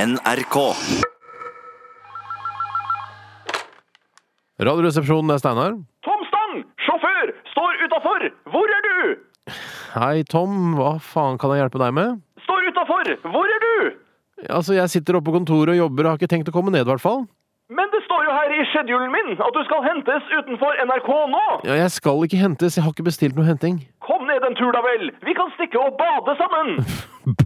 NRK. Radioresepsjonen, det er Steinar. Tom Stang, sjåfør, står utafor! Hvor er du? Hei, Tom. Hva faen kan jeg hjelpe deg med? Står utafor! Hvor er du? Altså, Jeg sitter oppe på kontoret og jobber og har ikke tenkt å komme ned, i hvert fall. Men det står jo her i schedulen min at du skal hentes utenfor NRK nå! Ja, jeg skal ikke hentes. Jeg har ikke bestilt noe henting. Kom ned en tur, da vel! Vi kan stikke og bade sammen!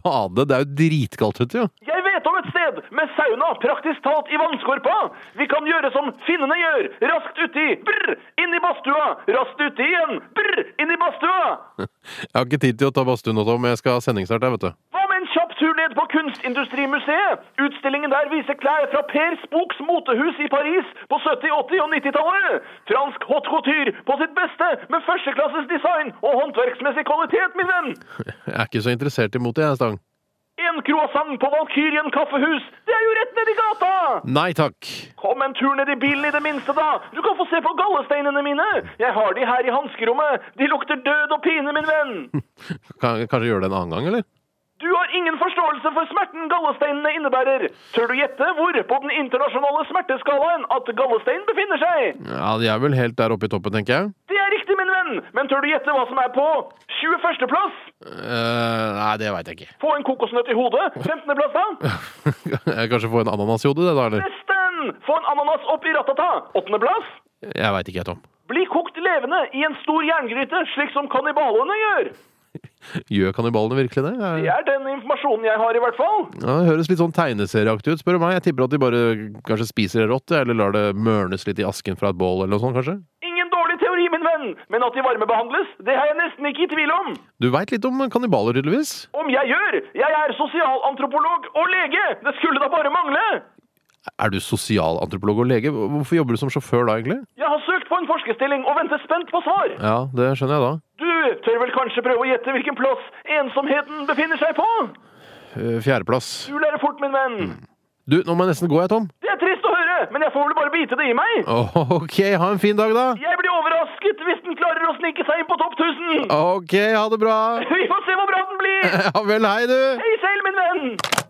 Bade? Det er jo dritkaldt ute, jo. Jeg vet om et sted med sauna praktisk talt i vannskorpa! Vi kan gjøre som finnene gjør! Raskt uti, brr! Inn i badstua! Raskt uti igjen, brr! Inn i badstua! Jeg har ikke tid til å ta badstue nå, Tom. Jeg skal ha sendingsstart, jeg, vet du. Hva med en kjapp tur ned på Kunstindustrimuseet? Utstillingen der viser klær fra Per Spooks motehus i Paris på 70-, 80- og 90-tallet. Fransk haute couture på sitt beste, med førsteklasses design og håndverksmessig kvalitet, min venn. Jeg er ikke så interessert i motet, jeg, Stang. En croissant på Valkyrien kaffehus, det er jo rett nedi gata! Nei takk. Kom en tur ned i bilen i det minste, da. Du kan få se på gallesteinene mine. Jeg har de her i hanskerommet. De lukter død og pine, min venn. Kan, kanskje gjøre det en annen gang, eller? Du har ingen forståelse for smerten gallesteinene innebærer. Tør du gjette hvor på den internasjonale smerteskalaen at gallestein befinner seg? Ja, De er vel helt der oppe i toppen, tenker jeg. Det er riktig, min venn, men tør du gjette hva som er på 21. plass? Eh, nei, det veit jeg ikke. Få en kokosnøtt i hodet. 15. plass, da? jeg kanskje få en ananas i hodet, det da, eller? Nesten! Få en ananas opp i ratata. 8. plass? Jeg veit ikke, jeg, Tom. Bli kokt levende i en stor jerngryte, slik som kannibalene gjør. Gjør kannibalene virkelig det? Jeg... Det er den informasjonen jeg har, i hvert fall. Ja, Det høres litt sånn tegneserieaktig ut, spør du meg. Jeg tipper at de bare kanskje spiser det rått, eller lar det mørnes litt i asken fra et bål, eller noe sånt, kanskje? Ingen dårlig teori, min venn, men at de varmebehandles, det er jeg nesten ikke i tvil om. Du veit litt om kannibaler, tydeligvis? Om jeg gjør? Jeg er sosialantropolog og lege! Det skulle da bare mangle! Er du sosialantropolog og lege? Hvorfor jobber du som sjåfør da, egentlig? Jeg har søkt på en forskerstilling og venter spent på svar. Ja, det skjønner jeg da. Du tør vel kanskje prøve å gjette hvilken plass ensomheten befinner seg på? Eh, Fjerdeplass. Du lærer fort, min venn. Du, nå må jeg nesten gå, jeg, Tom. Det er trist å høre, men jeg får vel bare bite det i meg. Ok, ha en fin dag, da. Jeg blir overrasket hvis den klarer å snike seg inn på topp 1000. Ok, ha det bra. Vi får se hvor bra den blir. Ja vel, hei, du. Hei selv, min venn.